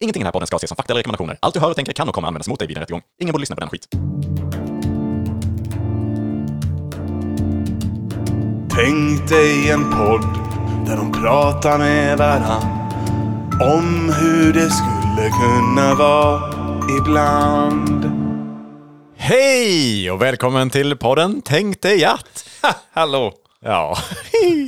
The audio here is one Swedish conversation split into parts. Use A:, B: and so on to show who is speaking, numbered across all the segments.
A: Ingenting i den här podden ska ses som fakta eller rekommendationer. Allt du hör och tänker kan och kommer användas mot dig vid en rättegång. Ingen borde lyssna på den skit.
B: Tänk dig en podd där de pratar med varann om hur det skulle kunna vara ibland.
A: Hej och välkommen till podden Tänk dig att.
C: Hallå!
A: Ja,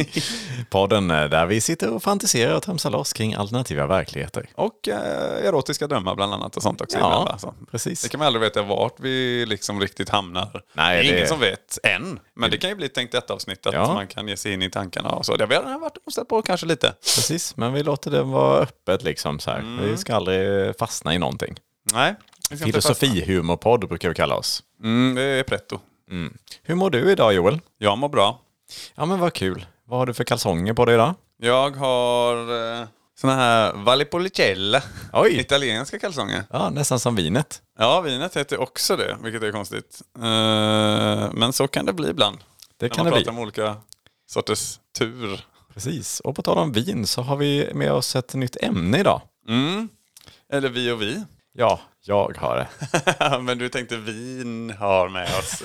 A: podden eh, där vi sitter och fantiserar och tramsar loss kring alternativa verkligheter.
C: Och eh, erotiska drömmar bland annat och sånt också.
A: Ja,
C: ibland, alltså.
A: precis.
C: Det kan man aldrig veta vart vi liksom riktigt hamnar.
A: Nej,
C: det är
A: det-
C: ingen som vet än. Men det kan ju bli ett tänkt detta-avsnitt att
A: Mm. Ja.
C: man kan ge sig in i tankarna och så. Det har vi redan varit och stött på kanske lite.
A: Precis, men vi låter den vara öppet liksom så här.
C: Mm.
A: Vi ska aldrig fastna i någonting.
C: Nej. vi ska inte fastna.
A: Filosofihumorpodd brukar vi kalla oss. Mm.
C: Mm, det är pretto.
A: Hur mår du idag Joel?
C: Jag mår bra.
A: Ja men vad kul. Vad har du för kalsonger på dig idag?
C: Jag har eh, såna här Valpolicella.
A: Oj.
C: Italienska kalsonger.
A: Ja, nästan som vinet.
C: Ja, vinet heter också det, vilket är konstigt. Eh, men så kan det bli ibland.
A: Det
C: När
A: kan
C: man
A: det
C: pratar
A: bli.
C: om olika sorters tur.
A: Precis. Och på tal om vin så har vi med oss ett nytt ämne idag.
C: Mm. Eller vi och vi.
A: Ja, jag har det.
C: Men du tänkte vin har med oss.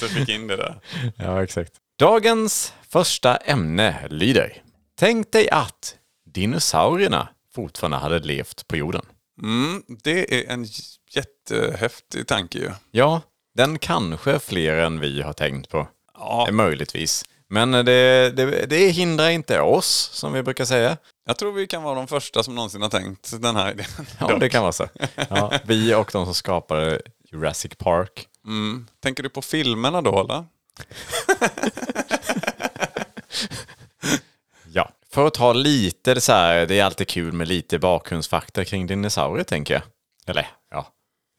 C: du fick in det där.
A: Ja, exakt. Dagens första ämne lyder. Tänk dig att dinosaurierna fortfarande hade levt på jorden.
C: Mm, det är en jättehäftig tanke ju.
A: Ja, den kanske fler än vi har tänkt på.
C: Ja,
A: Eh, Möjligtvis. Men eh, det, det, det hindrar inte oss, som vi brukar säga.
C: jag tror vi kan vara de första som någonsin har tänkt den här idén.
A: Ja, det kan vara så. Ja, vi och de som skapade Jurassic Park.
C: Mm. Tänker du på filmerna då eller?
A: Ja. För att ta lite så här, det är alltid kul med lite bakgrundsfakta kring dinosaurier tänker jag. Eller ja,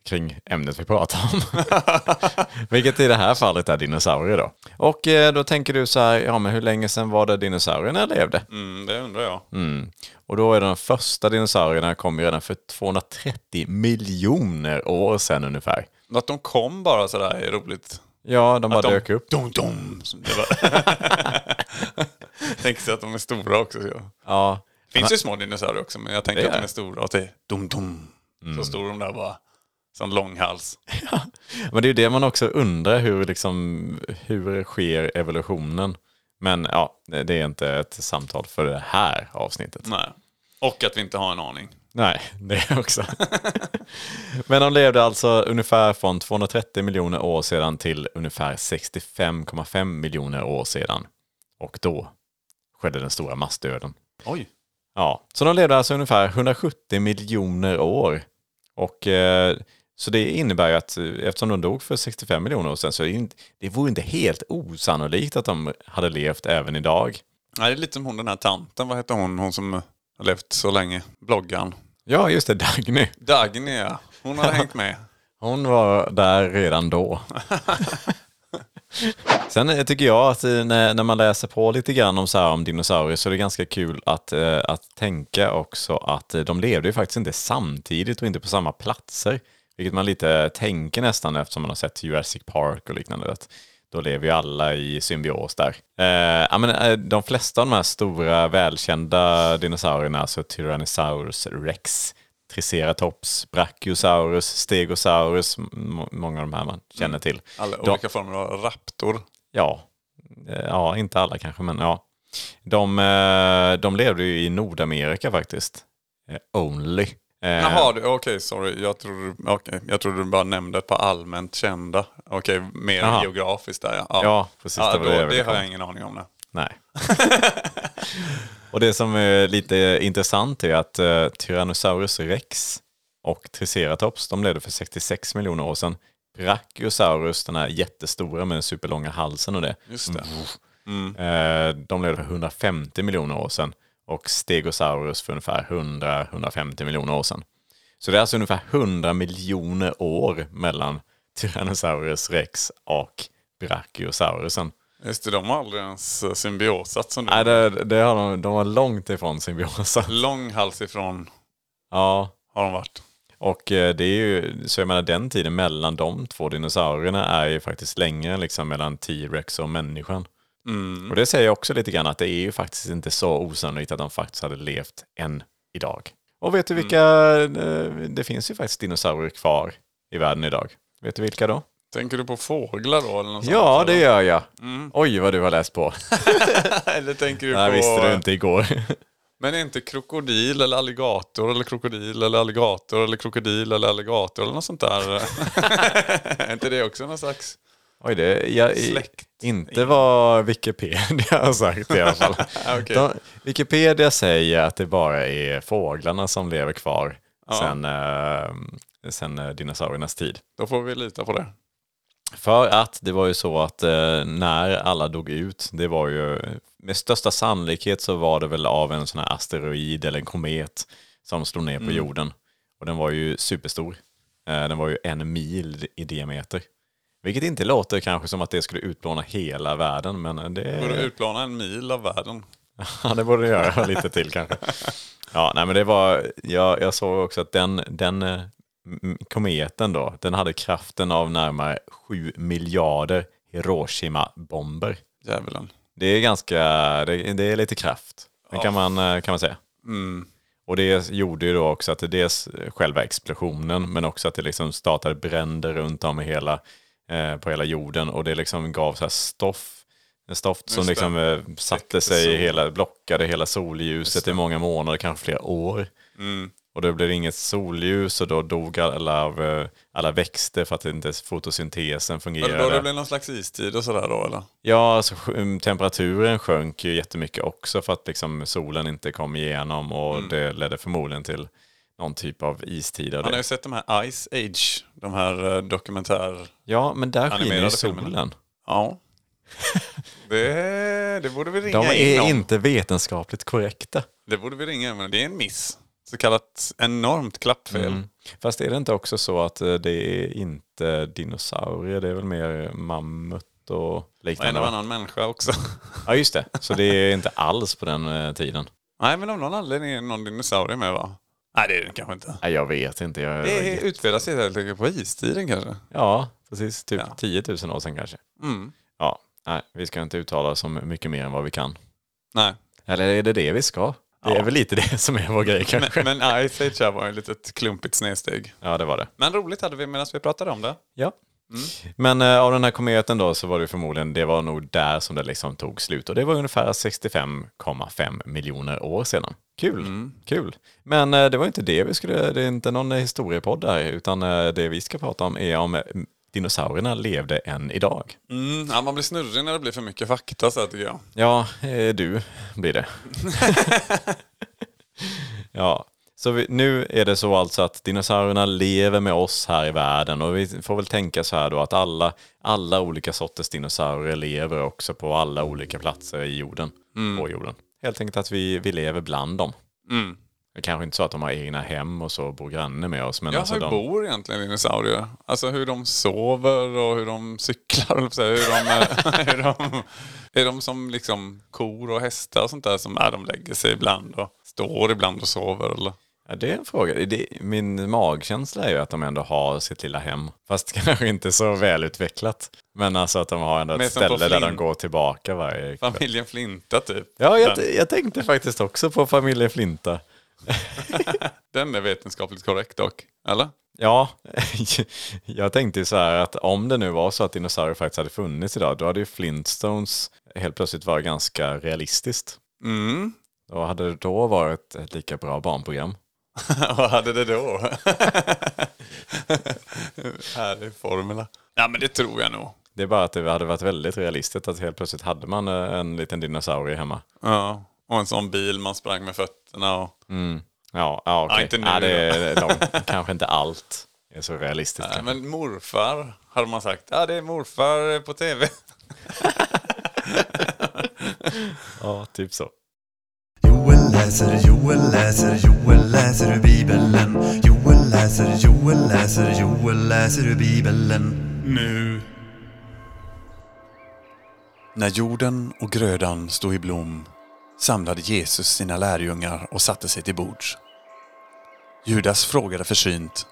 A: kring ämnet vi pratar om. Vilket i det här fallet är dinosaurier då. Och eh, då tänker du så här, ja men hur länge sedan var det dinosaurierna levde?
C: Mm, det undrar jag.
A: Mm. Och då är de första dinosaurierna kom ju redan för 230 miljoner år sedan ungefär.
C: Att de kom bara sådär är roligt.
A: Ja, de bara
C: de-
A: dök upp.
C: Dum, dum. som Det var. tänker sig att de är stora också. Ja.
A: Ja,
C: Det finns ju små dinosaurier också, men jag tänker
A: Det
C: att de
A: är. Mm.
C: är stora. Att det är dum, dum. Så stor de där bara. Sån lång hals.
A: Men det är ju det man också undrar, hur, liksom, hur sker evolutionen? Men ja, det är inte ett samtal för det här avsnittet.
C: Nej. Och att vi inte har en aning.
A: Nej, det också. Men de levde alltså ungefär från 230 miljoner år sedan till ungefär 65,5 miljoner år sedan. Och då skedde den stora massdöden.
C: Oj.
A: Ja, så de levde alltså ungefär 170 miljoner år. Och, eh, så det innebär ju att eh, eftersom de dog för 65 miljoner år sedan så är det, inte, det vore inte helt osannolikt att de hade levt även idag.
C: Nej, det är lite som hon den här tanten. Vad heter hon? Hon som har levt så länge. Bloggan.
A: Ja, just det, Dagny.
C: Dagny ja. Hon har hängt med.
A: Hon var där redan då. Sen eh, tycker jag att eh, när, när man läser på lite grann om, så här, om dinosaurier så är det ganska kul att, eh, att tänka också att eh, de levde ju faktiskt inte samtidigt och inte på samma platser. Vilket man lite tänker nästan eftersom man har sett Jurassic Park och liknande. Att då lever ju alla i symbios där. Eh, ja, men, eh, de flesta av de här stora välkända dinosaurierna, alltså Tyrannosaurus rex, Triceratops, Brachiosaurus, Stegosaurus, m- många av de här man känner till.
C: Alla
A: De-
C: olika former av raptor.
A: Ja, Eh, ja inte alla kanske, men ja. De, eh, de levde ju i Nordamerika faktiskt. Eh, Only. Eh,
C: Jaha, du- okej sorry. Jag trodde, okay. jag trodde du bara nämnde ett par allmänt kända. Okej, mer
A: Jaha.
C: geografiskt där ja.
A: Ja, precis.
C: Ja,
A: det
C: då,
A: var det jag
C: det,
A: ville
C: har
A: komma
C: jag ingen aning om nu.
A: Nej. och det som är lite intressant är att eh, Tyrannosaurus rex och Triceratops, de levde för 66 miljoner år sedan. Brachiosaurus, den här jättestora med den superlånga halsen och det,
C: Just
A: Mm.
C: det.
A: eh, de levde för 150 miljoner år sedan. Och Stegosaurus för ungefär 100-150 miljoner år sedan. Så det är alltså ungefär 100 miljoner år mellan Tyrannosaurus rex och Brachiosaurusen.
C: Just det, de har aldrig ens eh, symbiosat som du.
A: Nej, det, det har de, de var långt ifrån symbiosen.
C: Lång hals ifrån
A: Ja,
C: har de varit.
A: och eh, det är ju, så jag menar den tiden mellan de två dinosaurierna är ju faktiskt längre än liksom mellan T-rex och människan.
C: Mm.
A: Och det säger jag också lite grann att det är ju faktiskt inte så osannolikt att de faktiskt hade levt än idag. Och vet du vilka, eh, det finns ju faktiskt dinosaurier kvar i världen idag. Vet du vilka då?
C: Tänker du på fåglar då? Eller något
A: Ja,
C: sånt,
A: det
C: eller?
A: gör jag. Oj, vad du har läst på.
C: Eller tänker Mm. du
A: Det här
C: på...
A: visste du inte igår.
C: Men är inte krokodil eller alligator eller krokodil eller alligator eller krokodil eller alligator eller något sånt där? är inte det också någon slags...
A: Oj, det jag, i-
C: Släkt. Mm.
A: inte vad Wikipedia har sagt i alla fall.
C: Okej.
A: De, Wikipedia säger att det bara är fåglarna som lever kvar sen, eh, sen eh, dinosauriernas tid.
C: Då får vi lita på det.
A: För att det var ju så att eh, när alla dog ut, det var ju med största sannolikhet så var det väl av en sån här asteroid eller en komet som slog ner på jorden. Och den var ju superstor. Eh, den var ju en mil i diameter. Vilket inte låter kanske som att det skulle utplåna hela världen, men eh,
C: Går det att
A: det,
C: utplana en mil av världen?
A: ja, det borde det göra lite till kanske. Ja, nej men det var, jag, jag såg också att den, den eh, m- kometen då, den hade kraften av närmare 7 miljarder Hiroshima-bomber.
C: Djävulen.
A: Det är ganska, det, det är lite kraft, det kan, man, eh, kan man säga.
C: Mm.
A: Och det gjorde ju då också att det dels själva explosionen, men också att det liksom startade bränder runt om i hela, eh, på hela jorden. Och det liksom gav så här stoff, en stoft som
C: Just det.
A: liksom eh, satte
C: Täckte
A: sig i
C: solen.
A: hela, blockade hela solljuset i många månader, kanske flera år.
C: Mm.
A: Och då blev det inget solljus och då dog alla, av, eh, alla växter för att inte ens fotosyntesen
C: Men
A: fungerade.
C: då det blir någon slags istid och sådär då eller?
A: Ja, alltså, sj- temperaturen sjönk ju jättemycket också för att liksom solen inte kom igenom och
C: Mm.
A: det ledde förmodligen till någon typ av istid. av
C: Man har
A: det.
C: ju sett de här Ice Age, de här eh, dokumentär...
A: Ja, men där skiner ju
C: Animerade
A: solen.
C: filmerna. Ja. Det, det borde vi ringa
A: De är
C: om.
A: inte vetenskapligt korrekta.
C: Det borde vi ringa in men det är en miss. Så kallat enormt klappfel.
A: Mm. Fast är det inte också så att eh, det är inte dinosaurier, det är väl mer mammut och
C: Och en
A: liknande?
C: och
A: va?
C: annan människa också.
A: Ja, just det. Så det är inte alls på den eh, tiden.
C: Nej, men av någon anledning är det någon dinosaurie med va? Nej, det är den kanske inte.
A: Nej, jag vet inte. Jag...
C: Det är- utspelar sig helt enkelt på istiden kanske.
A: Ja, precis. Typ
C: Ja.
A: 10 000 år sedan kanske.
C: Mm.
A: Ja, nej, vi ska inte uttala oss om mycket mer än vad vi kan.
C: Nej.
A: Eller är det det vi ska? Det är väl lite det som är vår grej kanske.
C: Men, men Ice Age här var ju ett litet klumpigt snedsteg.
A: Ja, det var det.
C: Men roligt hade vi medan vi pratade om det.
A: Ja. Men eh, av den här kometen då så var det förmodligen, det var nog där som det liksom tog slut. Och det var ungefär 65,5 miljoner år sedan. Kul, kul. Men eh, det var inte det vi skulle, det är inte någon eh, historiepodd där, utan eh, det vi ska prata om är om eh, dinosaurierna levde än idag.
C: Mm. Ja, man blir snurrig när det blir för mycket fakta så här tycker jag.
A: Ja, eh, du blir det. ja, så vi, nu är det så alltså att dinosaurierna lever med oss här i världen och vi får väl tänka så här då att alla, alla olika sorters dinosaurier lever också på alla olika platser i jorden, på jorden. Helt enkelt att vi, vi lever bland dem.
C: Mm.
A: Det är kanske inte så att de har egna hem och så bor granne med oss. Men
C: Ja,
A: alltså
C: hur
A: de,
C: bor egentligen dinosaurier? Alltså hur de sover och hur de cyklar, höll jag på att säga. hur de, eh, hur de, är de som liksom kor och hästar och sånt där som är de lägger sig ibland och står ibland och sover eller?
A: Ja, det är en fråga. Det, min magkänsla är ju att de ändå har sitt lilla hem. Fast kanske inte så välutvecklat. Men alltså att de har ändå
C: Men
A: ett
C: som på
A: ställe där de
C: Flint.
A: går tillbaka varje kväll.
C: Familjen Flinta typ.
A: Ja, jag,
C: den,
A: t- jag tänkte faktiskt också på familjen Flinta.
C: den är vetenskapligt korrekt dock, eller?
A: Ja, jag tänkte ju så här att om det nu var så att dinosaurier faktiskt hade funnits idag, då hade ju Flintstones helt plötsligt varit ganska realistiskt.
C: Mm.
A: Då hade det då varit ett lika bra barnprogram.
C: Vad hade det då? Härlig formula. Ja men det tror jag nog.
A: Det är bara att det hade varit väldigt realistiskt att helt plötsligt hade man eh, en liten dinosaurie hemma.
C: Ja. Och en sån bil man sprang med fötterna och...
A: Mm. Ja, ja okej.
C: Ja, inte nu
A: ja, det är långt. Kanske inte allt är så realistiskt.
C: Nej,
A: kanske.
C: men morfar hade man sagt. Ja, det är morfar på tv.
A: Ja, typ så.
D: Joel läser, Joel läser, Joel läser ur Bibeln. Joel läser, Joel läser, Joel läser ur Bibeln.
B: Nu.
C: När jorden och grödan stod i blom samlade Jesus sina lärjungar och satte sig till bords. Judas frågade försynt.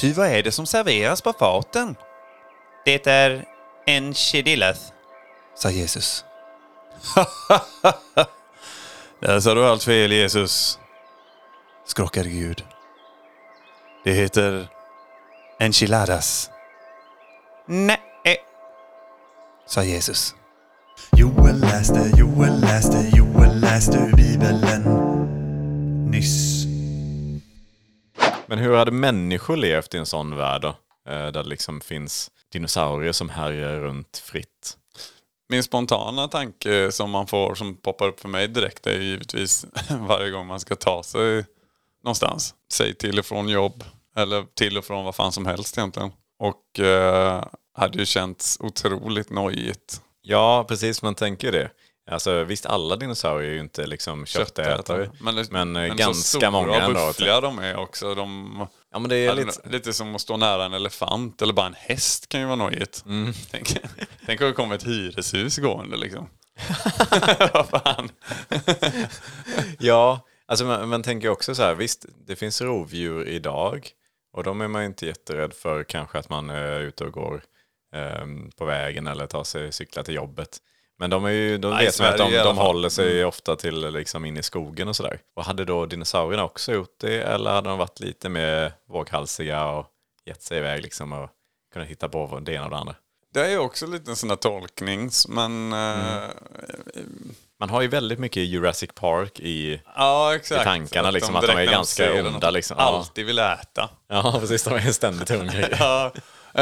C: Ty vad är det som serveras på faten?
E: Det är enchilillas.
C: sa Jesus. Där sa du allt fel, Jesus,
B: skrockade Gud. Det heter enchiladas,
E: Nej.
B: sa Jesus.
D: Joel läste, Joel läste, Joel läste ur Bibeln nyss.
A: Men hur hade människor levt i en sån värld då? Eh, Där det liksom finns dinosaurier som härjar runt fritt.
C: Min spontana tanke som man får, som poppar upp för mig direkt är givetvis varje gång man ska ta sig någonstans. Säg till och från jobb eller till och från vad fan som helst egentligen. Och eh, hade ju känts otroligt nojigt.
A: Ja, precis, man tänker ju det. Alltså visst, alla dinosaurier är ju inte liksom köttätare.
C: Men, det-
A: Men, eh,
C: så
A: ganska
C: stora
A: många
C: och
A: ändå.
C: buffliga de är också. De,
A: Ja, men det är
C: ja,
A: lite...
C: Lite som att stå nära en elefant eller bara en häst kan ju vara nojigt.
A: Mm.
C: Tänk, tänk om det kommer ett hyreshus gående liksom. vad fan.
A: Ja, alltså man, man tänker ju också så här, visst, det finns rovdjur idag och de är man ju inte jätterädd för kanske att man eh, är ute och går eh, på vägen eller tar sig cykla till jobbet. Men de, är ju, de
C: i
A: vet man att de,
C: Sverige i alla
A: de
C: fall. Mm.
A: håller sig ofta till liksom in i skogen och sådär. Och hade då dinosaurierna också gjort det eller hade de varit lite mer våghalsiga och gett sig iväg liksom och kunnat hitta på det ena och det andra?
C: Det är ju också lite en sån här tolkning. Men
A: Mm.
C: eh,
A: Man har ju väldigt mycket Jurassic Park i...
C: ja, exakt.
A: I tankarna
C: Att
A: liksom, att de
C: direkt
A: är
C: när
A: ganska
C: ser den
A: onda,
C: att de
A: liksom. Ja.
C: Alltid vill äta.
A: Ja, precis. De är ständigt hungriga.
C: Ja,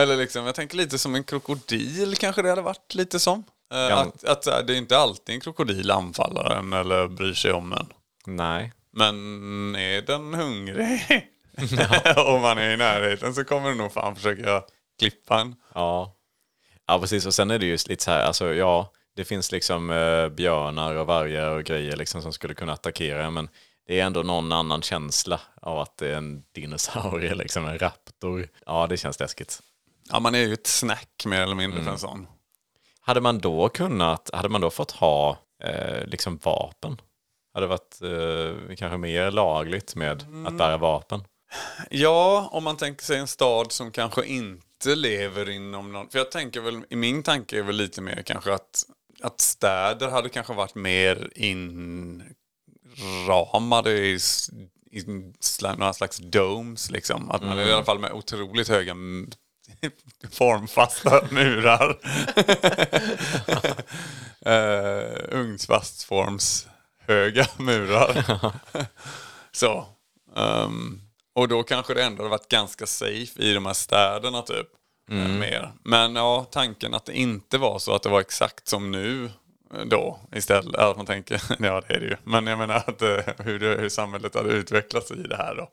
C: eller liksom, jag tänker lite som en krokodil kanske det hade varit lite som. Eh, Att, att så här, det är inte alltid en krokodil anfaller en eller bryr sig om en.
A: Nej.
C: Men är den hungrig? Om man är i närheten så kommer den nog fan försöka klippa en.
A: Ja. ja, precis. Och sen är det ju lite så här, alltså ja, det finns liksom eh, björnar och vargar och grejer liksom som skulle kunna attackera, men det är ändå någon annan känsla av att det är en dinosaurie, liksom en raptor. Ja, det känns läskigt.
C: Ja, man är ju ett snack mer eller mindre
A: Mm.
C: för en sån.
A: Hade man då kunnat, hade man då fått ha eh, liksom vapen? Hade det varit eh, kanske mer lagligt med att bära vapen?
C: Ja, om man tänker sig en stad som kanske inte lever inom någon... För jag tänker väl, i min tanke är väl lite mer kanske att, att städer hade kanske varit mer inramade i, s- i sla- några slags domes liksom. Att man i alla fall med otroligt höga m- formfasta murar. uh, ugnsfastformshöga murar. Så. ehm, och då kanske det ändå hade varit ganska safe i de här städerna typ. eh, Mer. Men ja, tanken att det inte var så att det var exakt som nu eh, då istället. Att man tänker, ja det är det ju. Men jag menar att, eh, hur, det, hur samhället hade utvecklats i det här då.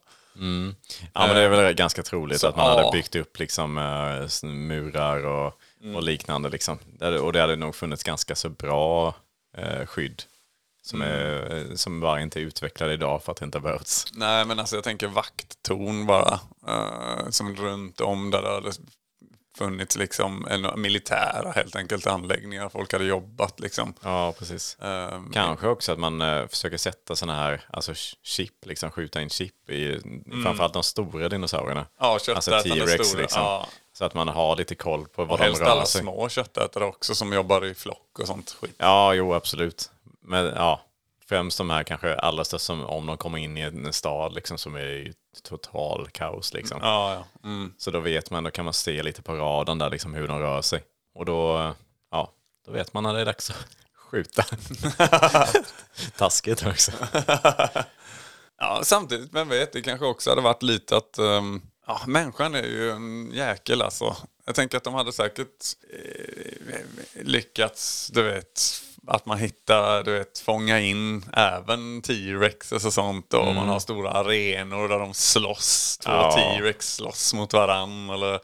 A: Ja, men det är väl ganska troligt
C: Eh, så,
A: att man
C: ja.
A: hade byggt upp liksom, eh, s- murar och,
C: Mm.
A: och liknande. Liksom. Där- Och det hade nog funnits ganska så bra eh, skydd som,
C: Mm.
A: är, eh, som bara inte är utvecklade idag för att det inte har behövts.
C: Nej men alltså jag tänker vakttorn bara. eh, som runt om där det hade funnits liksom en, militära helt enkelt anläggningar. Folk hade jobbat liksom.
A: Ja, precis.
C: Ehm,
A: Eh, Kanske också att man eh, försöker sätta sådana här alltså, sh- chip, liksom skjuta in chip i framförallt de stora dinosaurierna.
C: Mm. Ja, köttätande
A: alltså T-rex
C: stora,
A: liksom.
C: ja.
A: Så att man har lite koll på vad de
C: Helst
A: rör
C: alla
A: sig.
C: små köttätare också som jobbar i flock och sånt skit.
A: Ja, jo, absolut. Men ja, främst de här kanske allra största som om de kommer in i en stad liksom som är i total kaos liksom.
C: Ja, ja. Mm.
A: Så då vet man, då kan man se lite på radarn där liksom hur de rör sig. Och då, ja, då vet man när det är dags att skjuta. Taskigt också.
C: ja, samtidigt, vem vet, det kanske också hade varit lite att ehm, ja, människan är ju en jäkel alltså. Jag tänker att de hade säkert eh, lyckats, du vet, att man hittar, du vet, fånga in även T-Rexes och sånt. Och man har stora arenor där de slåss, två
A: Mm. Ja.
C: T-Rex slåss mot varann. Eller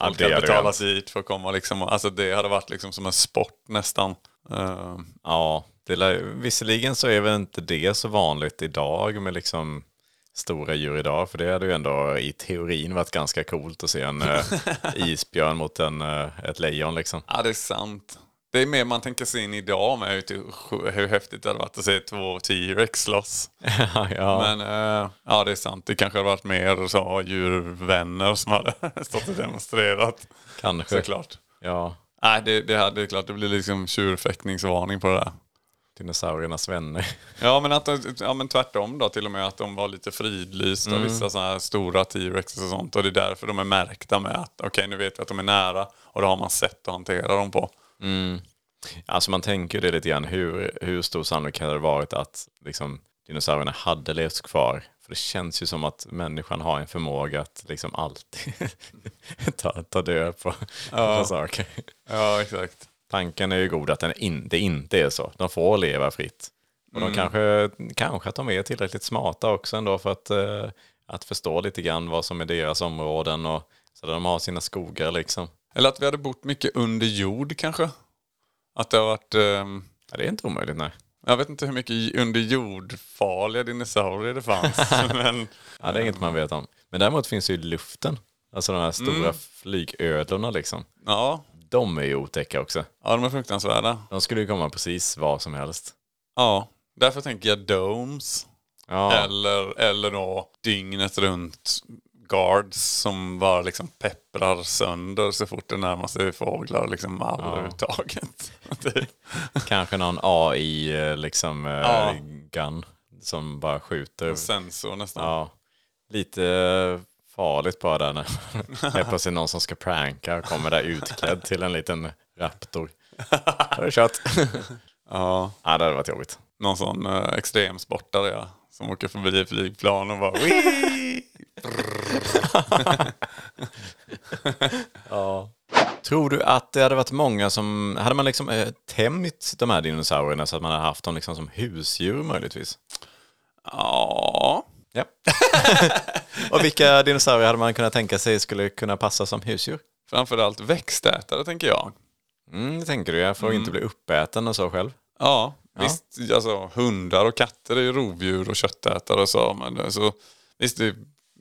C: folk
A: det
C: hade
A: hade
C: betalat sig hit för att komma liksom. Alltså det hade varit liksom som en sport nästan. Ehm,
A: Ja, det lär, visserligen så är väl inte det så vanligt idag med liksom stora djur idag, för det hade ju ändå i teorin varit ganska coolt att se en eh, isbjörn mot en, eh, ett lejon liksom.
C: Ja, det är sant. Det är mer man tänker sig in idag med ut- hur häftigt det hade varit att se två T-Rex slåss.
A: ja.
C: Men eh, ja, det är sant. Det kanske hade varit mer så djurvänner som hade stått och demonstrerat.
A: Kanske.
C: Såklart.
A: Ja.
C: Nej, det, det, hade, det är klart. Det blir liksom tjurfäktningsvarning på det där.
A: dinosauriernas vänner.
C: Ja men, att, de- ja men tvärtom då till och med att de var lite fridlysta, vissa sådana här stora T-Rex och sånt. Och det är därför de är märkta med att okej nu vet vi att de är nära och då har man sätt att hantera dem på.
A: Alltså man tänker ju det lite grann, hur, hur stor sannolikhet hade det varit att liksom, dinosaurierna hade levt kvar? För det känns ju som att människan har en förmåga att liksom alltid ta, ta död på, på saker.
C: Ja exakt.
A: Tanken är ju god att den in, det inte är så. De får leva fritt. Och de kanske, kanske att de är tillräckligt smarta också ändå för att, eh, att förstå lite grann vad som är deras områden och så där de har sina skogar liksom.
C: Eller att vi hade bott mycket under jord kanske. Att det har varit, ehm,
A: Ja, det är inte omöjligt nej.
C: jag vet inte hur mycket j- under jordfarliga dinosaurier det fanns. men,
A: Ja, det är inget man vet om. Men däremot finns det ju luften. Alltså de här stora flygödlorna liksom.
C: ja,
A: De är ju otäcka också.
C: ja, de är fruktansvärda.
A: De skulle ju komma precis var som helst.
C: Ja, därför tänker jag domes.
A: Ja,
C: Eller, eller då dygnet runt guards som bara liksom pepprar sönder så fort det närmar sig fåglar. Liksom all överhuvudtaget. Typ.
A: kanske någon AI eh, liksom eh,
C: Ja. Alltså.
A: gun som bara skjuter.
C: Sensor nästan.
A: Ja, lite eh, farligt bara där när helt plötsligt någon som ska pranka och kommer där utklädd till en liten raptor. Då är det kört.
C: Ja.
A: Ja, det hade varit jobbigt.
C: någon sån eh, extremsportare ja, som åker förbi flygplan och bara "Wii!"
A: Tror du att det hade varit många som, hade man liksom eh, tämjt de här dinosaurierna så att man hade haft dem liksom som husdjur möjligtvis?
C: Ja,
A: Ja. och vilka dinosaurier hade man kunnat tänka sig skulle kunna passa som husdjur?
C: framförallt växtätare tänker jag.
A: Mm, det tänker du ja, för att inte bli uppäten och så själv.
C: Ja, visst, alltså hundar och katter är ju rovdjur och köttätare och så. Men det- så visst, det,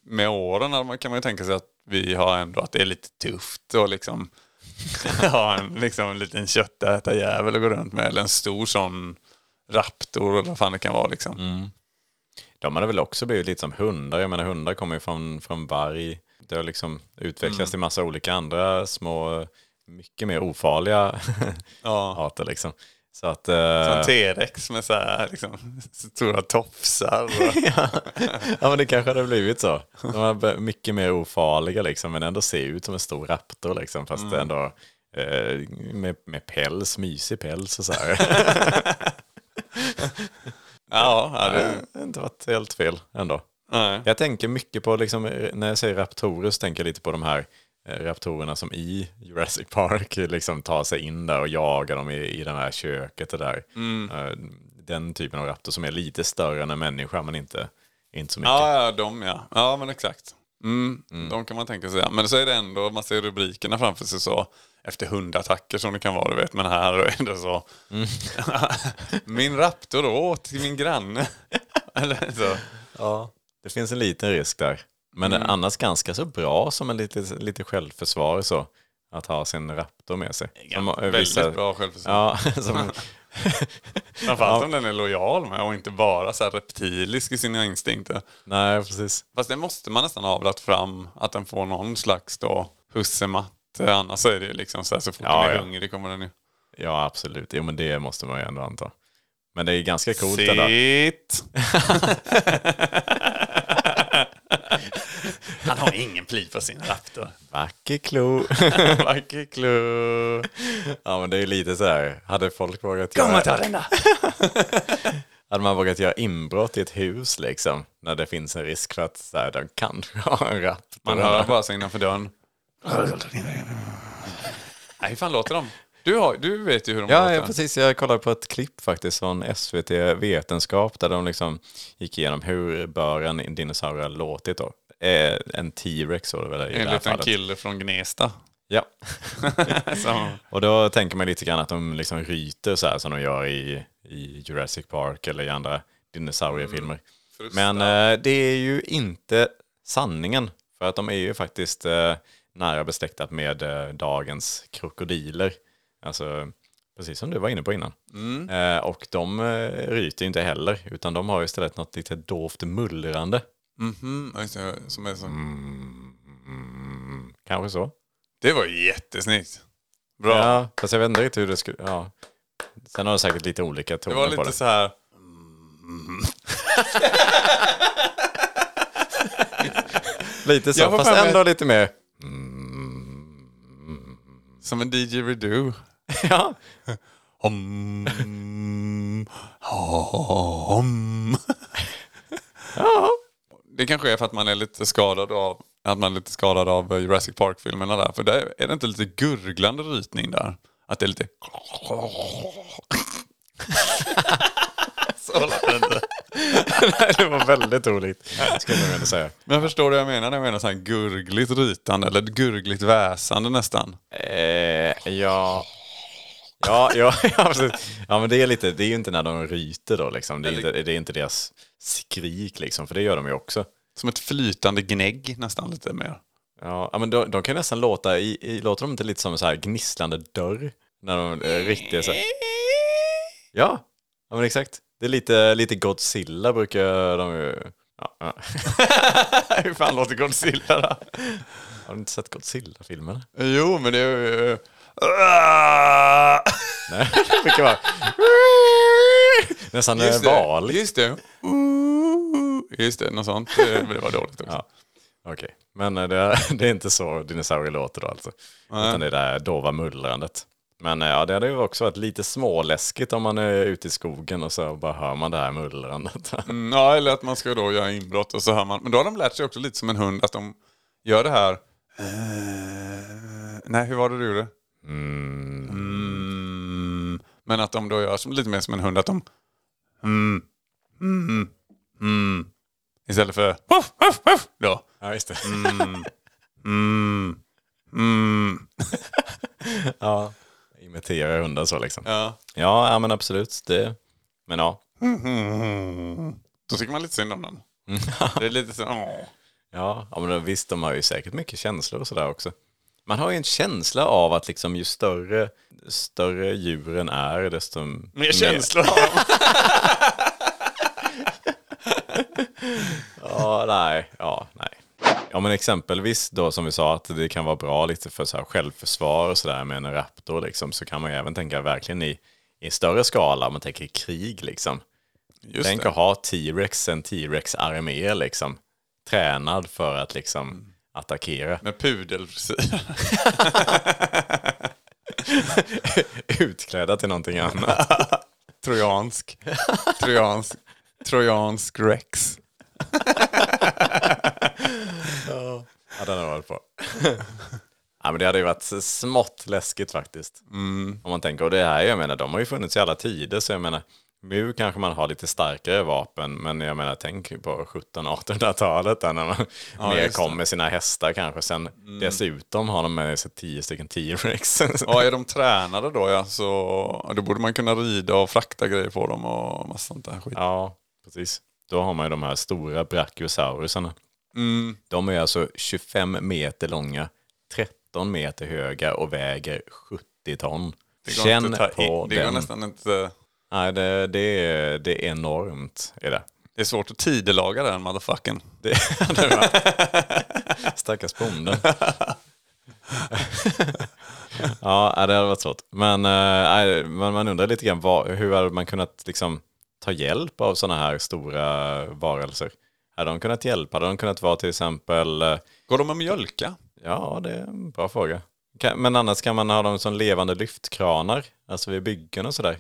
C: med åren hade man- kan man ju tänka sig att vi har ändå att det är lite tufft och liksom ha en, liksom, en liten köttätarjävel att gå runt med. Eller en stor sån raptor eller vad fan det kan vara liksom.
A: De hade väl också blivit lite som hundar. Jag menar hundar kommer ju från, från varg. Det har liksom utvecklats till massa olika andra små, mycket mer ofarliga
C: Ja.
A: arter liksom. Så att... eh,
C: En T-rex med så här, liksom, stora tofsar. Och,
A: ja men det kanske hade blivit så. De var b- mycket mer ofarliga liksom men ändå ser ut som en stor raptor liksom fast ändå eh, med, med päls, mysig päls och så här.
C: ja, ja,
A: det
C: det,
A: har inte varit helt fel ändå.
C: nej.
A: Jag tänker mycket på, liksom, när jag säger raptorer så tänker jag lite på de här eh, raptorerna som i Jurassic Park liksom tar sig in där och jagar dem i, i det här köket och där. Eh, Den typen av raptor som är lite större än en människa men inte, inte så mycket.
C: Ja, ja, de ja. Ja, men exakt. Mm, De kan man tänka sig. ja. Men så är det ändå, man ser rubrikerna framför sig så, efter hundattacker som det kan vara, du vet. Men här är det så.
A: Mm.
C: min raptor åt till min granne. Eller så.
A: Det finns en liten risk där. Men
C: Mm.
A: annars ganska så bra som en lite, lite självförsvar så. Att ha sin raptor med sig. Som, eh, vissa-
C: Väldigt bra självförsvar.
A: Ja, som,
C: Framförallt om den är lojal med och inte bara så här reptilisk i sina instinkter.
A: nej, precis.
C: Fast det måste man nästan ha avlat fram att den får någon slags då hussematte. Annars så är det ju liksom så här så fort
A: Ja,
C: den är
A: ja.
C: hungrig kommer den ju.
A: Ja, absolut. Jo, men det måste man ju ändå anta. Men det är ganska coolt det där.
C: Sitt! Han har ingen pli på sin raptor.
A: Vacker klo.
C: Vacker klo.
A: Ja, men det är lite så här. Hade folk vågat göra...
C: den där.
A: Hade man vågat göra inbrott i ett hus liksom? När det finns en risk för att så här, de kanske har en raptor.
C: Man hör bara sig innanför dörren. Nej, hur fan låter de? Du, har, du vet ju hur de
A: Ja,
C: låter.
A: ja, precis. Jag kollade på ett klipp faktiskt från SVT Vetenskap där de liksom gick igenom hur bör en dinosaurie ha låtit då. Eh, En T-rex var det väl i det här
C: Enligt en
A: fallet.
C: kille från Gnesta.
A: Ja.
C: Som,
A: Och då tänker man lite grann att de liksom ryter så här som de gör i, i Jurassic Park eller i andra dinosauriefilmer. Men eh, det är ju inte sanningen. För att de är ju faktiskt eh, nära besläktat med eh, dagens krokodiler. Alltså, precis som du var inne på innan.
C: Mm.
A: Eh, och de eh, ryter ju inte heller, utan de har ju istället något lite dovt mullrande.
C: Mhm, just det, som är så.
A: Mm. Kanske så.
C: Det var ju jättesnyggt. Bra.
A: Ja, fast jag vet inte riktigt hur det skulle... Ja. Sen har det säkert lite olika toner
C: Det var
A: på det.
C: lite
A: Mm.
C: så här...
A: Lite så,
C: Jag får
A: fast
C: för mig-
A: ändå lite mer.
C: Som en DJ Redo.
A: Ja,
C: Om, om. Det kanske är för att man är lite skadad av att man är lite skadad av eh, Jurassic Park-filmerna där. För där är det inte lite gurglande rytning där? Att det är lite... Så lät det inte.
A: det var väldigt roligt. Skulle jag nog ändå säga.
C: Men förstår du vad jag menar? Jag menar så här gurgligt rytande eller gurgligt väsande nästan.
A: Eh, ja. Ja, ja, ja, precis. ja, men det är lite, det är ju inte när de ryter då liksom. Det är, inte, det är inte deras skrik liksom, för det gör de ju också.
C: Som ett flytande gnägg nästan lite mer.
A: Ja, ja, men de, de kan nästan låta, i, i, låter de inte lite som en så här gnisslande dörr? När de är riktiga så här. Ja, ja men exakt. Det är lite, lite Godzilla brukar de ju... Ja, ja. Hur fan låter Godzilla då? Har du inte sett Godzilla-filmerna?
C: Jo, men det är ju...
A: Nej, det brukar vara... Nästan
C: Just
A: eh, val.
C: det. Just det. Ooh. Just det, något sånt. Eh, Men det var dåligt också.
A: Ja. Okej, men eh, det är, det är inte så dinosaurier låter då alltså. Utan det är det här dova mullrandet. Men eh, ja, det hade ju också varit lite småläskigt om man är ute i skogen och så bara hör man det här mullrandet.
C: Mm, ja, eller att man ska då göra inbrott och så hör man. Men då har de lärt sig också lite som en hund att de gör det här. Eh, Nej, hur var det du gjorde? Mm. Men att de då gör som, lite mer som en hund, att de... Mm. Mm. Mm. Istället för... Woof, woof, woof, då.
A: Ja, just det.
C: Mm. Mm.
A: Ja. Imiterar hundar så liksom. Ja,
C: Ja.
A: ja, men absolut. Det... Men ja.
C: Då tycker man lite synd om den. Det är lite så... åh.
A: Ja, ja men visst, de har ju säkert mycket känslor och sådär också. Man har ju en känsla av att liksom ju större, större djuren är, desto...
C: Mer känslor har de.
A: Ja, nej. Ja, nej. Ja, men exempelvis då som vi sa att det kan vara bra lite för så här självförsvar och sådär med en raptor liksom, så kan man ju även tänka verkligen i, i större skala, om man tänker krig liksom.
C: Just
A: Tänk
C: det.
A: att ha T-Rex, en T-Rex-armé liksom, tränad för att liksom attackera.
C: Med pudelfrisyr.
A: Utklädda till någonting annat.
C: Trojansk. Trojansk. Trojansk Rex.
A: Ja, den har jag varit på. ja, men det hade ju varit smått läskigt faktiskt.
C: Mm.
A: Om man tänker, och det här, jag menar, de har ju funnits i alla tider, så jag menar, nu kanske man har lite starkare vapen, men jag menar, tänk ju på 1700-1800-talet där när man mer
C: just det. Mm.
A: kom med sina hästar kanske. Sen dessutom har de med sig tio stycken T-Rex.
C: Ja, är de tränade då ja, så ja, då borde man kunna rida och frakta grejer på dem och massa sånt där skit.
A: ja, precis. Då har man ju de här stora brachiosaurusarna.
C: Mm.
A: De är alltså 25 meter långa, 13 meter höga och väger 70 ton.
C: Det går
A: Känn
C: inte att ta i-
A: på
C: det går
A: den.
C: nästan inte...
A: Nej, det, det, är, det är enormt. Är det.
C: Det är svårt att tidelaga den motherfucken.
A: det, det var- Stackars bonden. ja, nej, det hade varit svårt. Men eh, nej, man, man undrar lite grann, vad, hur hade man kunnat liksom, ta hjälp av sådana här stora varelser? Hade de kunnat hjälpa? Hade de kunnat vara till exempel eh,
C: Går de att mjölka?
A: Ja, det är en bra fråga. Kan- Men annars kan man ha dem som levande lyftkranar, alltså vid byggen och sådär.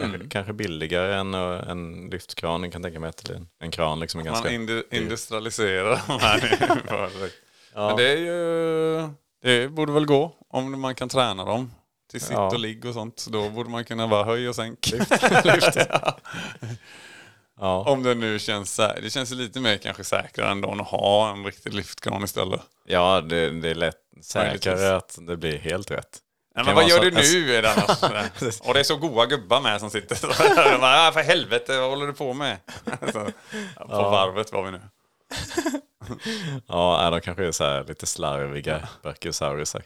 A: Kanske, kanske billigare än eh, en lyftkran, jag kan tänka mig att det är en, en kran liksom är
C: Man
A: ganska...
C: indu- industrialiserar de här. nu bara. Men det är ju... Det borde väl gå om man kan träna dem. Till sitt
A: Ja.
C: och ligg och sånt. Då borde man kunna bara höj och sänk.
A: Ja.
C: Om det nu känns så här. Det känns ju lite mer kanske säkrare ändå än att ha en riktig lyftkran istället.
A: ja, det, det är lätt
C: Möjligtvis.
A: säkrare att det blir helt rätt.
C: Nej,
A: Kan
C: men vad
A: vara
C: gör
A: så-
C: du nu? Är det annars sådär. och det är så goa gubbar med som sitter så här. De bara, "Ah, för helvete, vad håller du på med? Så, på varvet var vi nu.
A: Ja, nej, de kanske är så här lite slarviga brachiosaurusar.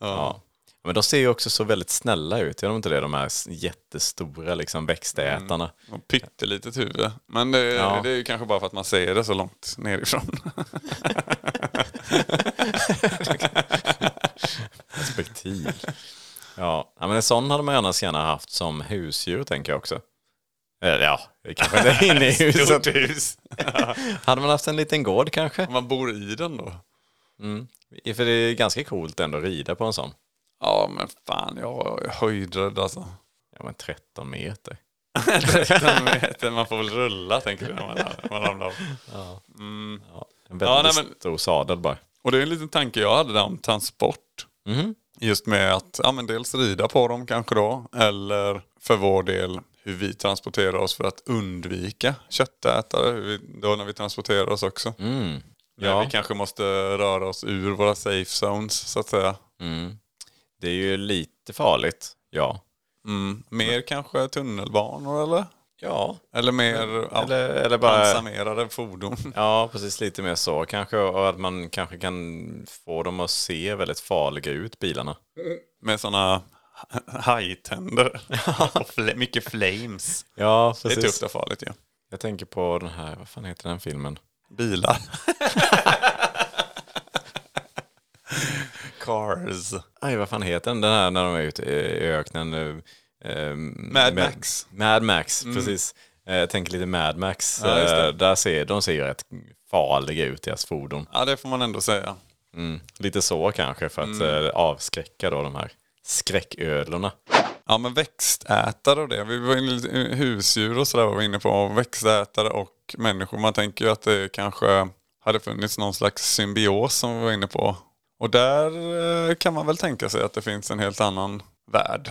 A: Ja. Men de ser ju också så väldigt snälla ut, gör de inte det? De här s- jättestora liksom, växtätarna.
C: Och pyttelitet huvud. Men det,
A: Ja.
C: det är ju kanske bara för att man ser det så långt nerifrån.
A: perspektiv. Ja, ja, men det en sån hade man annars gärna haft som husdjur tänker jag också. Eller ja, det kanske inte är inne i huset.
C: Stort hus.
A: Hade man haft en liten gård kanske?
C: Om man bor i den då?
A: För det är ganska coolt ändå att rida på en sån.
C: Ja, men fan, jag är höjdrädd alltså.
A: Ja men 13 meter.
C: Den vet, man får väl rulla, tänker du, när man, när man ramlar av. Mm.
A: Ja, en
C: Ja,
A: väldigt
C: nej, men-
A: stor sadel bara.
C: Och det är en liten tanke jag hade där om transport.
A: Mhm.
C: Just med att ja, men dels rida på dem kanske då, eller för vår del hur vi transporterar oss för att undvika köttätare, hur vi, då när vi transporterar oss också.
A: Mm.
C: Ja.
A: Ja.
C: Vi kanske måste röra oss ur våra safe zones så att säga.
A: Mm. Det är ju lite farligt. Ja.
C: Mm. Mer kanske tunnelbanor eller?
A: Ja.
C: Eller mer ja,
A: Eller, eller bara...
C: balsamerade fordon.
A: Ja, precis lite mer så kanske. Och att man kanske kan få dem att se väldigt farliga ut, bilarna.
C: Med sådana hajtänder. och fl- mycket flames.
A: Ja,
C: Det är tufft och farligt ju. Ja.
A: Jag tänker på den här, vad fan heter den filmen?
C: Bilar. Cars.
A: Aj, vad fan heter den? Den här när de är ute i öknen nu. Eh,
C: Mad
A: med-
C: Max. Mm.
A: Mad Max, precis. Eh, Jag tänker lite Mad Max.
C: Ja, just det.
A: Eh, Där ser, de ser ju rätt farliga ut, deras fordon.
C: Ja, det får man ändå säga.
A: Mm. Lite så kanske för att
C: Mm.
A: eh, avskräcka då de här skräcködlorna.
C: Ja, men växtätare och det. Vi var inne lite- eh, husdjur och sådär var vi inne på. Växtätare och människor. Man tänker ju att det kanske hade funnits någon slags symbios som vi var inne på. Och där eh, kan man väl tänka sig att det finns en helt annan värld.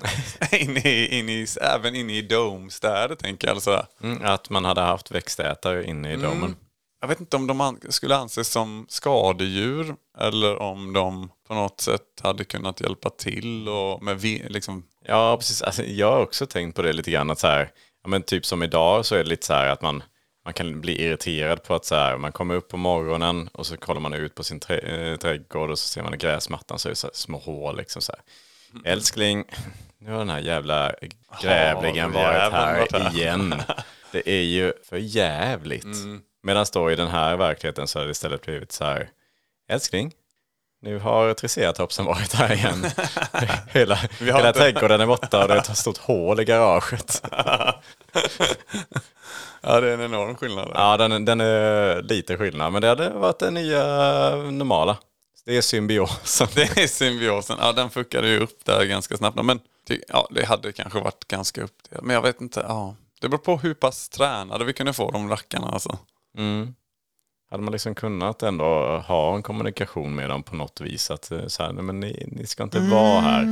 C: in i, in i, även inne i domstäder tänker jag. Alltså, Eller sådär.
A: Mm, att man hade haft växtätare inne i
C: Mm.
A: domen.
C: Jag vet inte om de an- skulle anses som skadedjur eller om de på något sätt hade kunnat hjälpa till och med ve- liksom...
A: Ja, precis. Alltså, jag har också tänkt på det lite grann. Att så här, ja, men typ som idag så är det lite så här att man, man kan bli irriterad på att så här, man kommer upp på morgonen och så kollar man ut på sin trä, eh, trädgård och så ser man i gräsmattan så är det så här, små hål. Liksom, så här. Älskling, nu har den här jävla grävlingen varit
C: Havjäveln varit
A: här
C: här.
A: igen. Det är ju för jävligt. Medan då i den här verkligheten så har det istället blivit så här, älskling, nu har triceratopsen varit här igen. hela
C: har
A: hela
C: inte-
A: trädgården är borta och det är ett stort hål i garaget.
C: Ja, det är en enorm skillnad. där.
A: Ja, den, den är lite skillnad, men det hade varit den nya normala. Det är symbiosen.
C: Det är symbiosen. Ja, den fuckade ju upp där ganska snabbt. Men ty- ja, det hade kanske varit ganska uppdelat. Men jag vet inte. Ja. Det beror på hur pass tränade vi kunde få de rackarna alltså.
A: Mm. Hade man liksom kunnat ändå ha en kommunikation med dem på något vis? Att eh, så här, nej, men ni, ni ska inte vara här.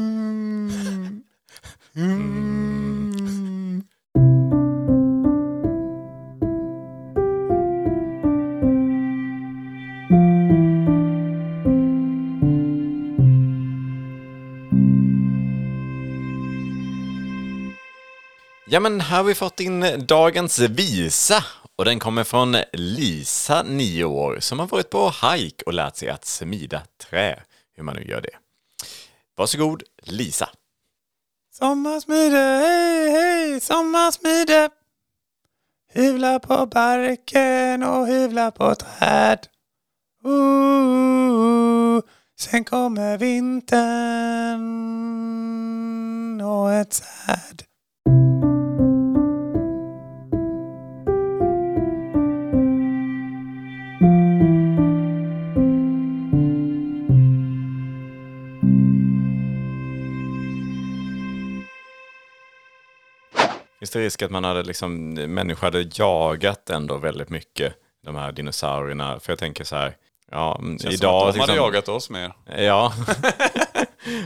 A: Ja, men här har vi fått in dagens visa. Och den kommer från Lisa, 9 år, som har varit på hajk och lärt sig att smida trä. Hur man nu gör det. Varsågod, Lisa.
C: Sommarsmide, hej hej, sommarsmide. Hyvla på barken och hyvla på träd. Ooh, sen kommer vintern och
D: er
C: ett säd.
A: Finns det risk att man hade liksom, människor hade jagat ändå väldigt mycket de här dinosaurierna? För jag tänker så här, ja, mm,
C: Känns
A: idag...
C: som att de hade
A: liksom-
C: jagat oss mer.
A: Ja.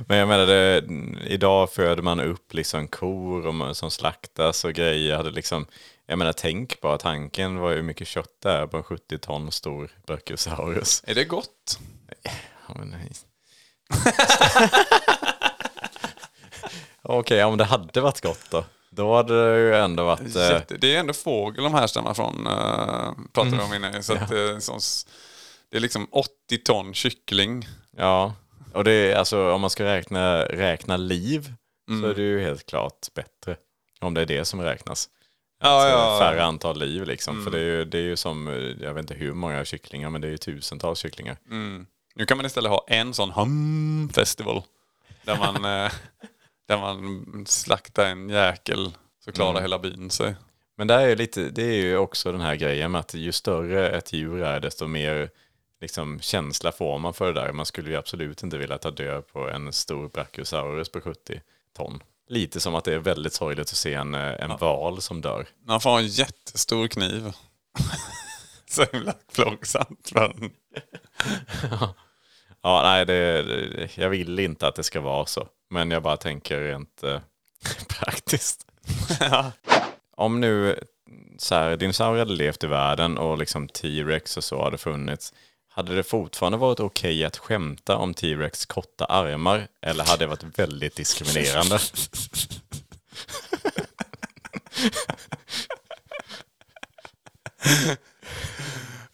A: Men jag menar, det, idag föder man upp liksom kor och man, som slaktas och grejer. Jag Hade liksom, jag menar, tänk bara tanken var ju hur mycket kött det är på en 70 ton stor brachiosaurus.
C: Är det gott?
A: Ja, men nej. Okej, om det hade varit gott då. Då hade det ju ändå varit... eh,
C: Jätte, det är ändå fågel de härstammar från, eh, pratade vi om innan. Så att, eh, sån s- det är liksom 80 ton kyckling.
A: Ja, och det är alltså om man ska räkna, räkna liv
C: Mm.
A: så är det ju helt klart bättre. Om det är det som räknas. Alltså,
C: Ja, ja, Mm.
A: Färre antal liv liksom. För det är, ju, det är ju som, eh, jag vet inte hur många kycklingar, men det är ju tusentals kycklingar.
C: Nu kan man istället ha en sån hum festival. Där man eh, Där man slaktar en jäkel så klarar hela byn sig.
A: Men det, här är ju lite, det är ju också den här grejen med att ju större ett djur är desto mer liksom, känsla får man för det där. Man skulle ju absolut inte vilja ta död på en stor brachiosaurus på 70 ton. Lite som att det är väldigt sorgligt att se en, eh, en val som dör.
C: Man får ha en jättestor kniv. så himla plågsamt. Men
A: Ja, nej, det, det- jag vill inte att det ska vara så. Men jag bara tänker rent eh, praktiskt. Om nu så här, dinosaurier hade levt i världen och liksom T-Rex och så hade funnits. Hade det fortfarande varit okej att skämta om T-Rex korta armar? Eller hade det varit väldigt diskriminerande?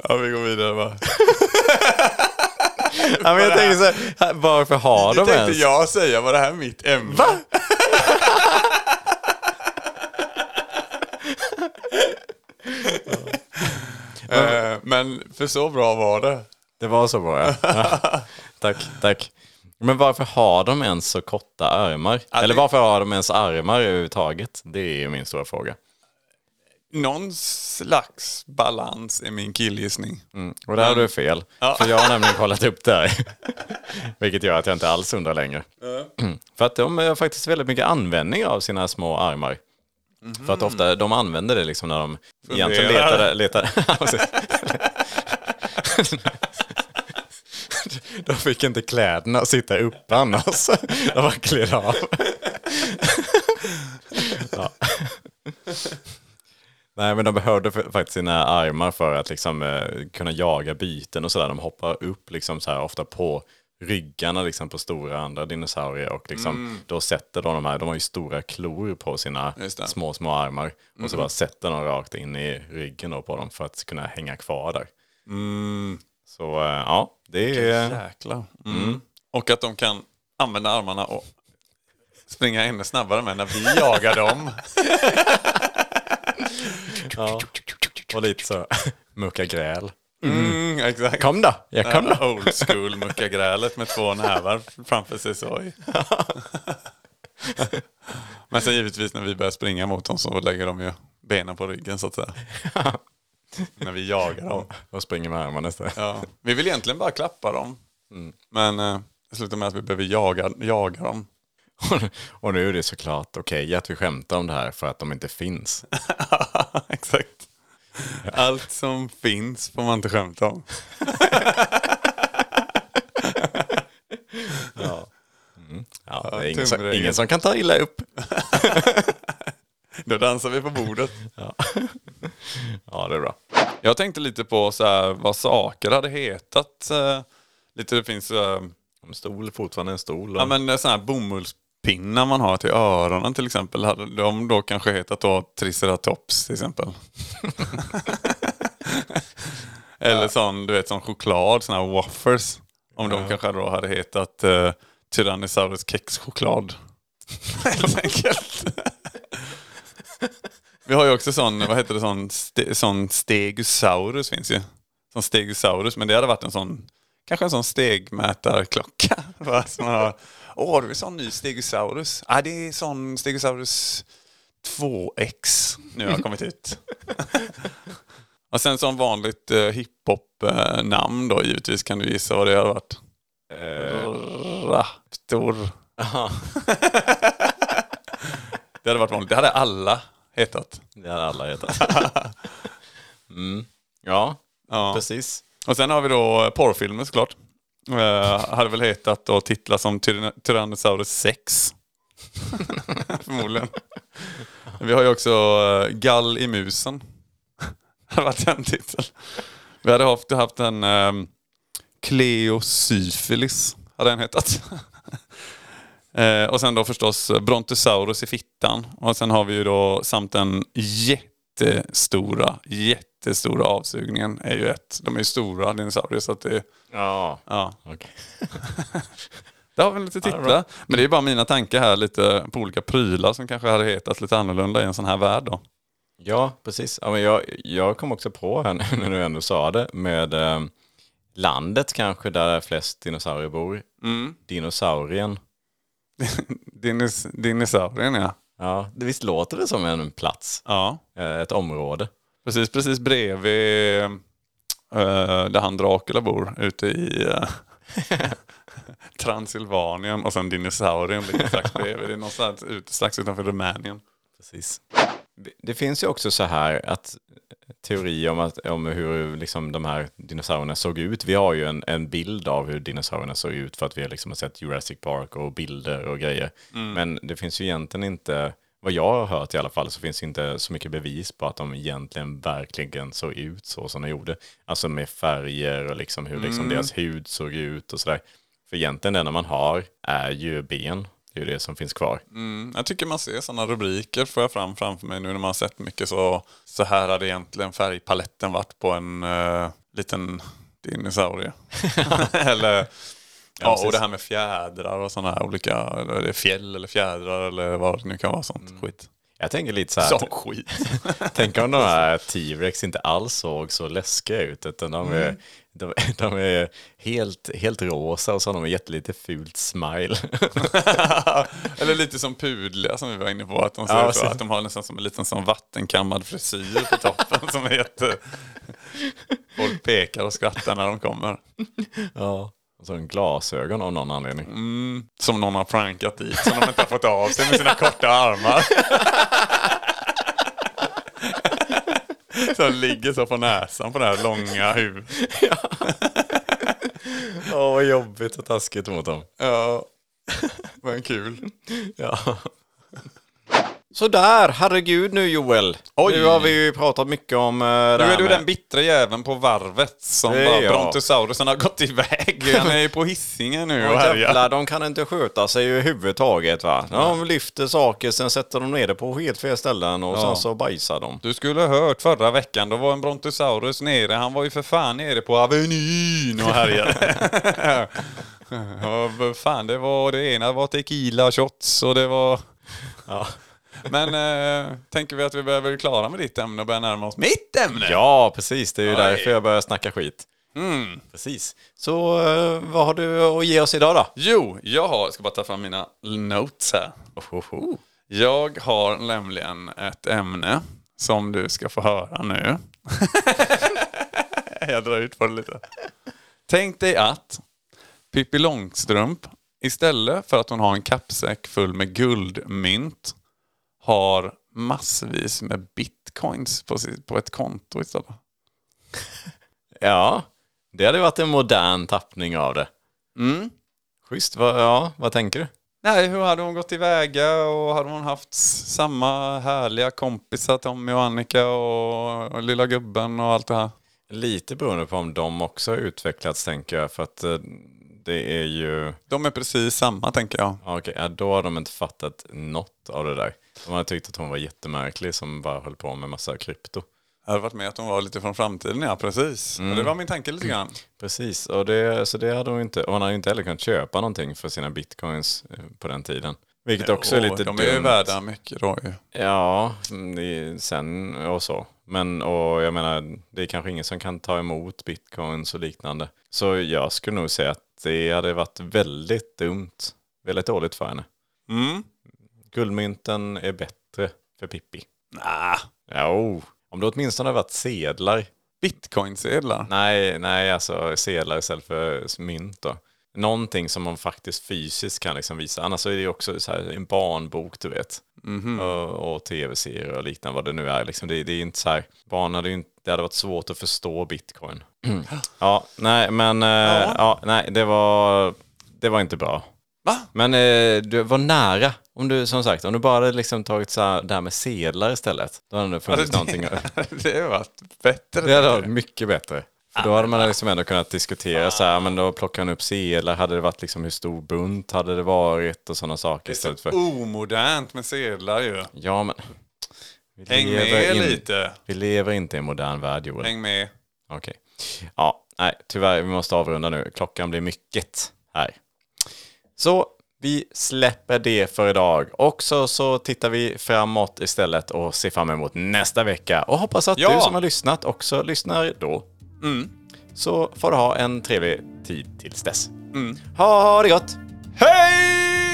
C: ja, vi går vidare va.
A: ja, men jag tänker så här, varför har
C: Det
A: de
C: tänkte
A: ens?
C: jag säga, var det här mitt ämne? Va? Eh, Men för så bra var det.
A: Det var så bra, ja. ja. Tack, tack. Men varför har de ens så korta armar? Eller varför har de ens armar överhuvudtaget? Det är ju min stora fråga.
C: Någon slags balans är min killgissning.
A: Och där har du fel. För jag har nämligen kollat upp det här. Vilket gör att jag inte alls undrar längre. För att de har faktiskt väldigt mycket användning av sina små armar. För att ofta, de använder det liksom när de egentligen
C: Funderar.
A: letar... letar Ja, precis. de fick inte kläderna att sitta uppe annars. De var klädda av. ja. Nej, men de behövde för, faktiskt sina armar för att liksom, eh, kunna jaga byten och sådär. De hoppar upp liksom, så här, ofta på ryggarna liksom, på stora andra dinosaurier och liksom, då sätter de de här, de har ju stora klor på sina
C: Mm. Just det. Mm.
A: små, små armar. Och så bara sätter de rakt in i ryggen då på dem för att kunna hänga kvar där.
C: Mm.
A: Så eh, ja, det är...
C: Jäklar. Mm. Och att de kan använda armarna och springa ännu snabbare med när vi jagar dem.
A: Ja. Och lite så, mucka gräl.
C: Mm, exakt.
A: Kom då, jag kom då.
C: Ja, Old school muckagrälet med två nävar framför sig soj. Men sen givetvis när vi börjar springa mot dem så lägger de ju benen på ryggen så att säga. när vi jagar dem.
A: Och springer med armarna istället.
C: Ja. Vi vill egentligen bara klappa dem. Men eh, det slutar med att vi behöver jaga, jaga dem.
A: Och nu är det såklart okej att vi skämtar om det här för att de inte finns.
C: Exakt. Allt som finns får man inte skämta om.
A: Ja, det är ingen, som,
C: tumregeln.
A: ingen som kan ta illa upp.
C: Då dansar vi på bordet.
A: Ja, det är bra.
C: Jag tänkte lite på så här, vad saker hade hetat. eh, Lite det finns eh,
A: En stol, fortfarande en stol. Och...
C: ja, men, eh, såna här bomullspinnar man har till öronen till exempel. Hade de då kanske hetat då Triceratops till exempel. Eller sån, du vet, sån choklad, såna här waffers. Om de kanske då hade hetat eh, Tyrannosaurus kexchoklad. Helt enkelt. Vi har ju också sån, vad heter det, sån, ste, sån stegosaurus finns ju. Sån stegosaurus, men det hade varit en sån, kanske en sån stegmätarklocka. va, som man har. Åh, du är sån ny stegosaurus. Ja, det är sån stegosaurus 2X nu har kommit ut. Och sen som vanligt eh, hiphop-namn då givetvis kan du gissa vad det hade varit.
A: eh,
C: Raptor. det hade varit vanligt. Det hade alla hetat.
A: Det hade alla hetat. mm. ja,
C: Ja.
A: precis.
C: Och sen har vi då eh, porrfilmer såklart. Eh, hade väl hetat och titlar som Tyrann- Tyrannosaurus 6. Förmodligen. Vi har ju också eh, Gall i musen. hade varit en titel. Vi hade haft, haft en um, Cleosyphilis. Hade den hetat. Eh, och sen då förstås Brontosaurus i fittan. Och sen har vi ju då samt den jättestora, jättestora avsugningen är ju ett. De är ju stora dinosaurier så att det,
A: Ja,
C: ja.
A: okej.
C: Där har vi lite titlar. Men det är bara mina tankar här lite på olika prylar som kanske hade hetat lite annorlunda i en sån här värld då.
A: Ja, precis. Ja, men jag, jag kom också på här nu när du ändå sa det med eh, Mm. landet kanske där flest dinosaurier bor. Dinosaurien.
C: Dinos, dinosaurien ja.
A: Ja, det- visst låter det som en plats?
C: Ja.
A: Eh, Ett område?
C: Precis, precis bredvid eh, där han Dracula bor ute i eh, Transylvanien och sen dinosaurien ligger strax bredvid. Det är någonstans ute, strax utanför Rumänien.
A: Precis. Det, det finns ju också så här att teori om, att, om hur liksom de här dinosaurierna såg ut. Vi har ju en, en bild av hur dinosaurierna såg ut för att vi liksom har sett Jurassic Park och bilder och grejer. Men det finns ju egentligen inte, vad jag har hört i alla fall, så finns det inte så mycket bevis på att de egentligen verkligen såg ut så som de gjorde. Alltså med färger och liksom hur liksom deras hud såg ut och sådär. För egentligen det enda man har är ju ben. Det är ju det som finns kvar.
C: Mm, jag tycker man ser sådana rubriker får jag fram framför mig nu när man har sett mycket så, så här hade egentligen färgpaletten varit på en eh, liten dinosaurie. eller, ja, och
A: precis.
C: det här med fjädrar och sådana här olika, eller är det fjäll eller fjädrar eller vad det nu kan vara sånt
A: Mm.
C: skit.
A: Jag tänker lite så här.
C: Sånt skit.
A: Tänk om de här T-Rex inte alls såg så läskiga ut, utan de är, de, de är helt, helt rosa och så har de en jättelite fult smile.
C: Eller lite som pudliga som vi var inne på. Att de, ser
A: Ja,
C: ut så,
A: precis.
C: att de har nästan som en liten sån vattenkammad frisyr på toppen som är jätte... Folk pekar och skrattar när de kommer.
A: ja. Och så en glasögon av någon anledning.
C: Som någon har prankat dit som de inte har fått av sig med sina korta armar. Som ligger så på näsan på det här långa huvudet.
A: Åh, vad jobbigt och taskigt mot dem.
C: Ja, men kul.
A: Ja. Sådär, herregud nu Joel.
C: Oj.
A: Nu har vi ju pratat mycket om eh, det
C: Nu
A: här
C: är du
A: med-
C: den bittra jäveln på varvet som
A: Det är
C: bara
A: jag.
C: brontosaurusen har gått iväg. Han är ju på hissingen nu och
A: Och jävlar,
C: härjar.
A: de kan inte sköta sig överhuvudtaget va. De lyfter saker, sen sätter de ner det på helt fel ställen och sen så bajsar de.
C: Du skulle ha hört förra veckan, då var en brontosaurus nere. Han var ju för fan nere på Avenyn och härjade. ja, vad fan, det var det ena var tequila shots och det var... Men eh, tänker vi att vi behöver klara med ditt ämne och börja närma oss mitt ämne?
A: Ja, precis. Det är Mm. ju
C: Oj.
A: därför jag börjar snacka skit. Precis. Så eh, vad har du att ge oss idag då?
C: Jo, jag har, jag ska bara ta fram mina notes här. Jag har nämligen ett ämne som du ska få höra nu. jag drar ut på det lite. Tänk dig att Pippi Långstrump istället för att hon har en kappsäck full med guldmynt har massvis med bitcoins på, sitt, på ett konto istället.
A: Ja, det hade varit en modern tappning av det.
C: Mm.
A: Schysst. Vad- ja, vad tänker du?
C: Nej, hur hade hon gått tillväga och hade hon haft s- samma härliga kompisar, Tommy och Annika och, och lilla gubben och allt det här?
A: Lite beroende på om de också har utvecklats tänker jag. För att eh, det är ju...
C: De är precis samma tänker jag.
A: Ja, Okej, ja, då har de inte fattat något av det där. De hade tyckt att hon var jättemärklig som bara höll på med massa krypto.
C: Jag hade varit med att de var lite från framtiden, ja precis. Och
A: Mm.
C: det var min tanke lite grann.
A: Precis, och det, så det hade hon inte. Och hon hade inte heller kunnat köpa någonting för sina bitcoins eh, på den tiden. Vilket också är
C: Och
A: lite
C: de
A: dumt.
C: är ju värda mycket då ju.
A: Ja, mm, det är sen och så. Men och jag menar, det är kanske ingen som kan ta emot bitcoins och liknande. Så jag skulle nog säga att det hade varit väldigt dumt. Väldigt dåligt för henne.
C: Mm.
A: Guldmynten är bättre för Pippi.
C: Nah.
A: Jo, om det åtminstone hade varit sedlar.
C: Bitcoinsedlar.
A: Nej, nej, alltså sedlar istället för mynt då. Någonting som man faktiskt fysiskt kan liksom visa. Annars så är det ju också så här en barnbok, du vet. Och, och tv-serier och liknande, vad det nu är. Liksom, det, det är inte så här, barn hade ju inte, det hade varit svårt att förstå bitcoin. ja, nej, men eh, ja. nej, det var, det var inte bra.
C: Va?
A: Men eh, du var nära. Om du, som sagt, om du bara hade liksom tagit så här, det här med sedlar istället, då hade Alltså, det funnits någonting.
C: Alltså, det hade varit bättre.
A: Det hade varit mycket bättre. För då hade man liksom ändå kunnat diskutera så här, men då plockar han upp sedlar, hade det varit liksom hur stor bunt hade det varit och sådana saker istället för...
C: omodernt med sedlar ju.
A: Ja men... Vi
C: Häng
A: lever
C: med
A: in-
C: lite.
A: Vi lever inte i en modern värld Joel.
C: Häng med.
A: Okej. Ja, nej tyvärr, vi måste avrunda nu. Klockan blir mycket här. Så vi släpper det för idag. Och så, så tittar vi framåt istället och ser fram emot nästa vecka. Och hoppas att
C: Ja. Mm.
A: du som har lyssnat också lyssnar då.
C: Mm.
A: Så får du ha en trevlig tid tills dess. Ha, ha det gott!
C: Hej!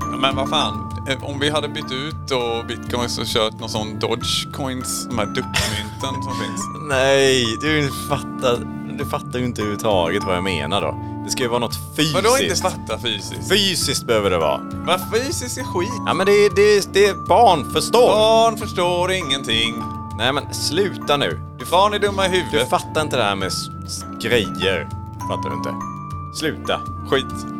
C: Ja, Men vad fan, Eh, om vi hade bytt ut då bitcoins och kört någon sån Dogecoins, de här duckmynten som finns.
A: Nej, du fattar, du fattar ju inte överhuvudtaget vad jag menar då. Det ska ju vara något fysiskt.
C: Vadå inte fatta fysiskt?
A: Fysiskt behöver det vara.
C: Vad fysiskt är skit.
A: Ja men det, det, det är barn, förstår.
C: Barn förstår ingenting.
A: Nej men sluta nu. Du,
C: Barn är dumma i
A: du
C: huvudet.
A: fattar inte det här med s- s- grejer. Fattar du inte? Sluta.
C: Skit.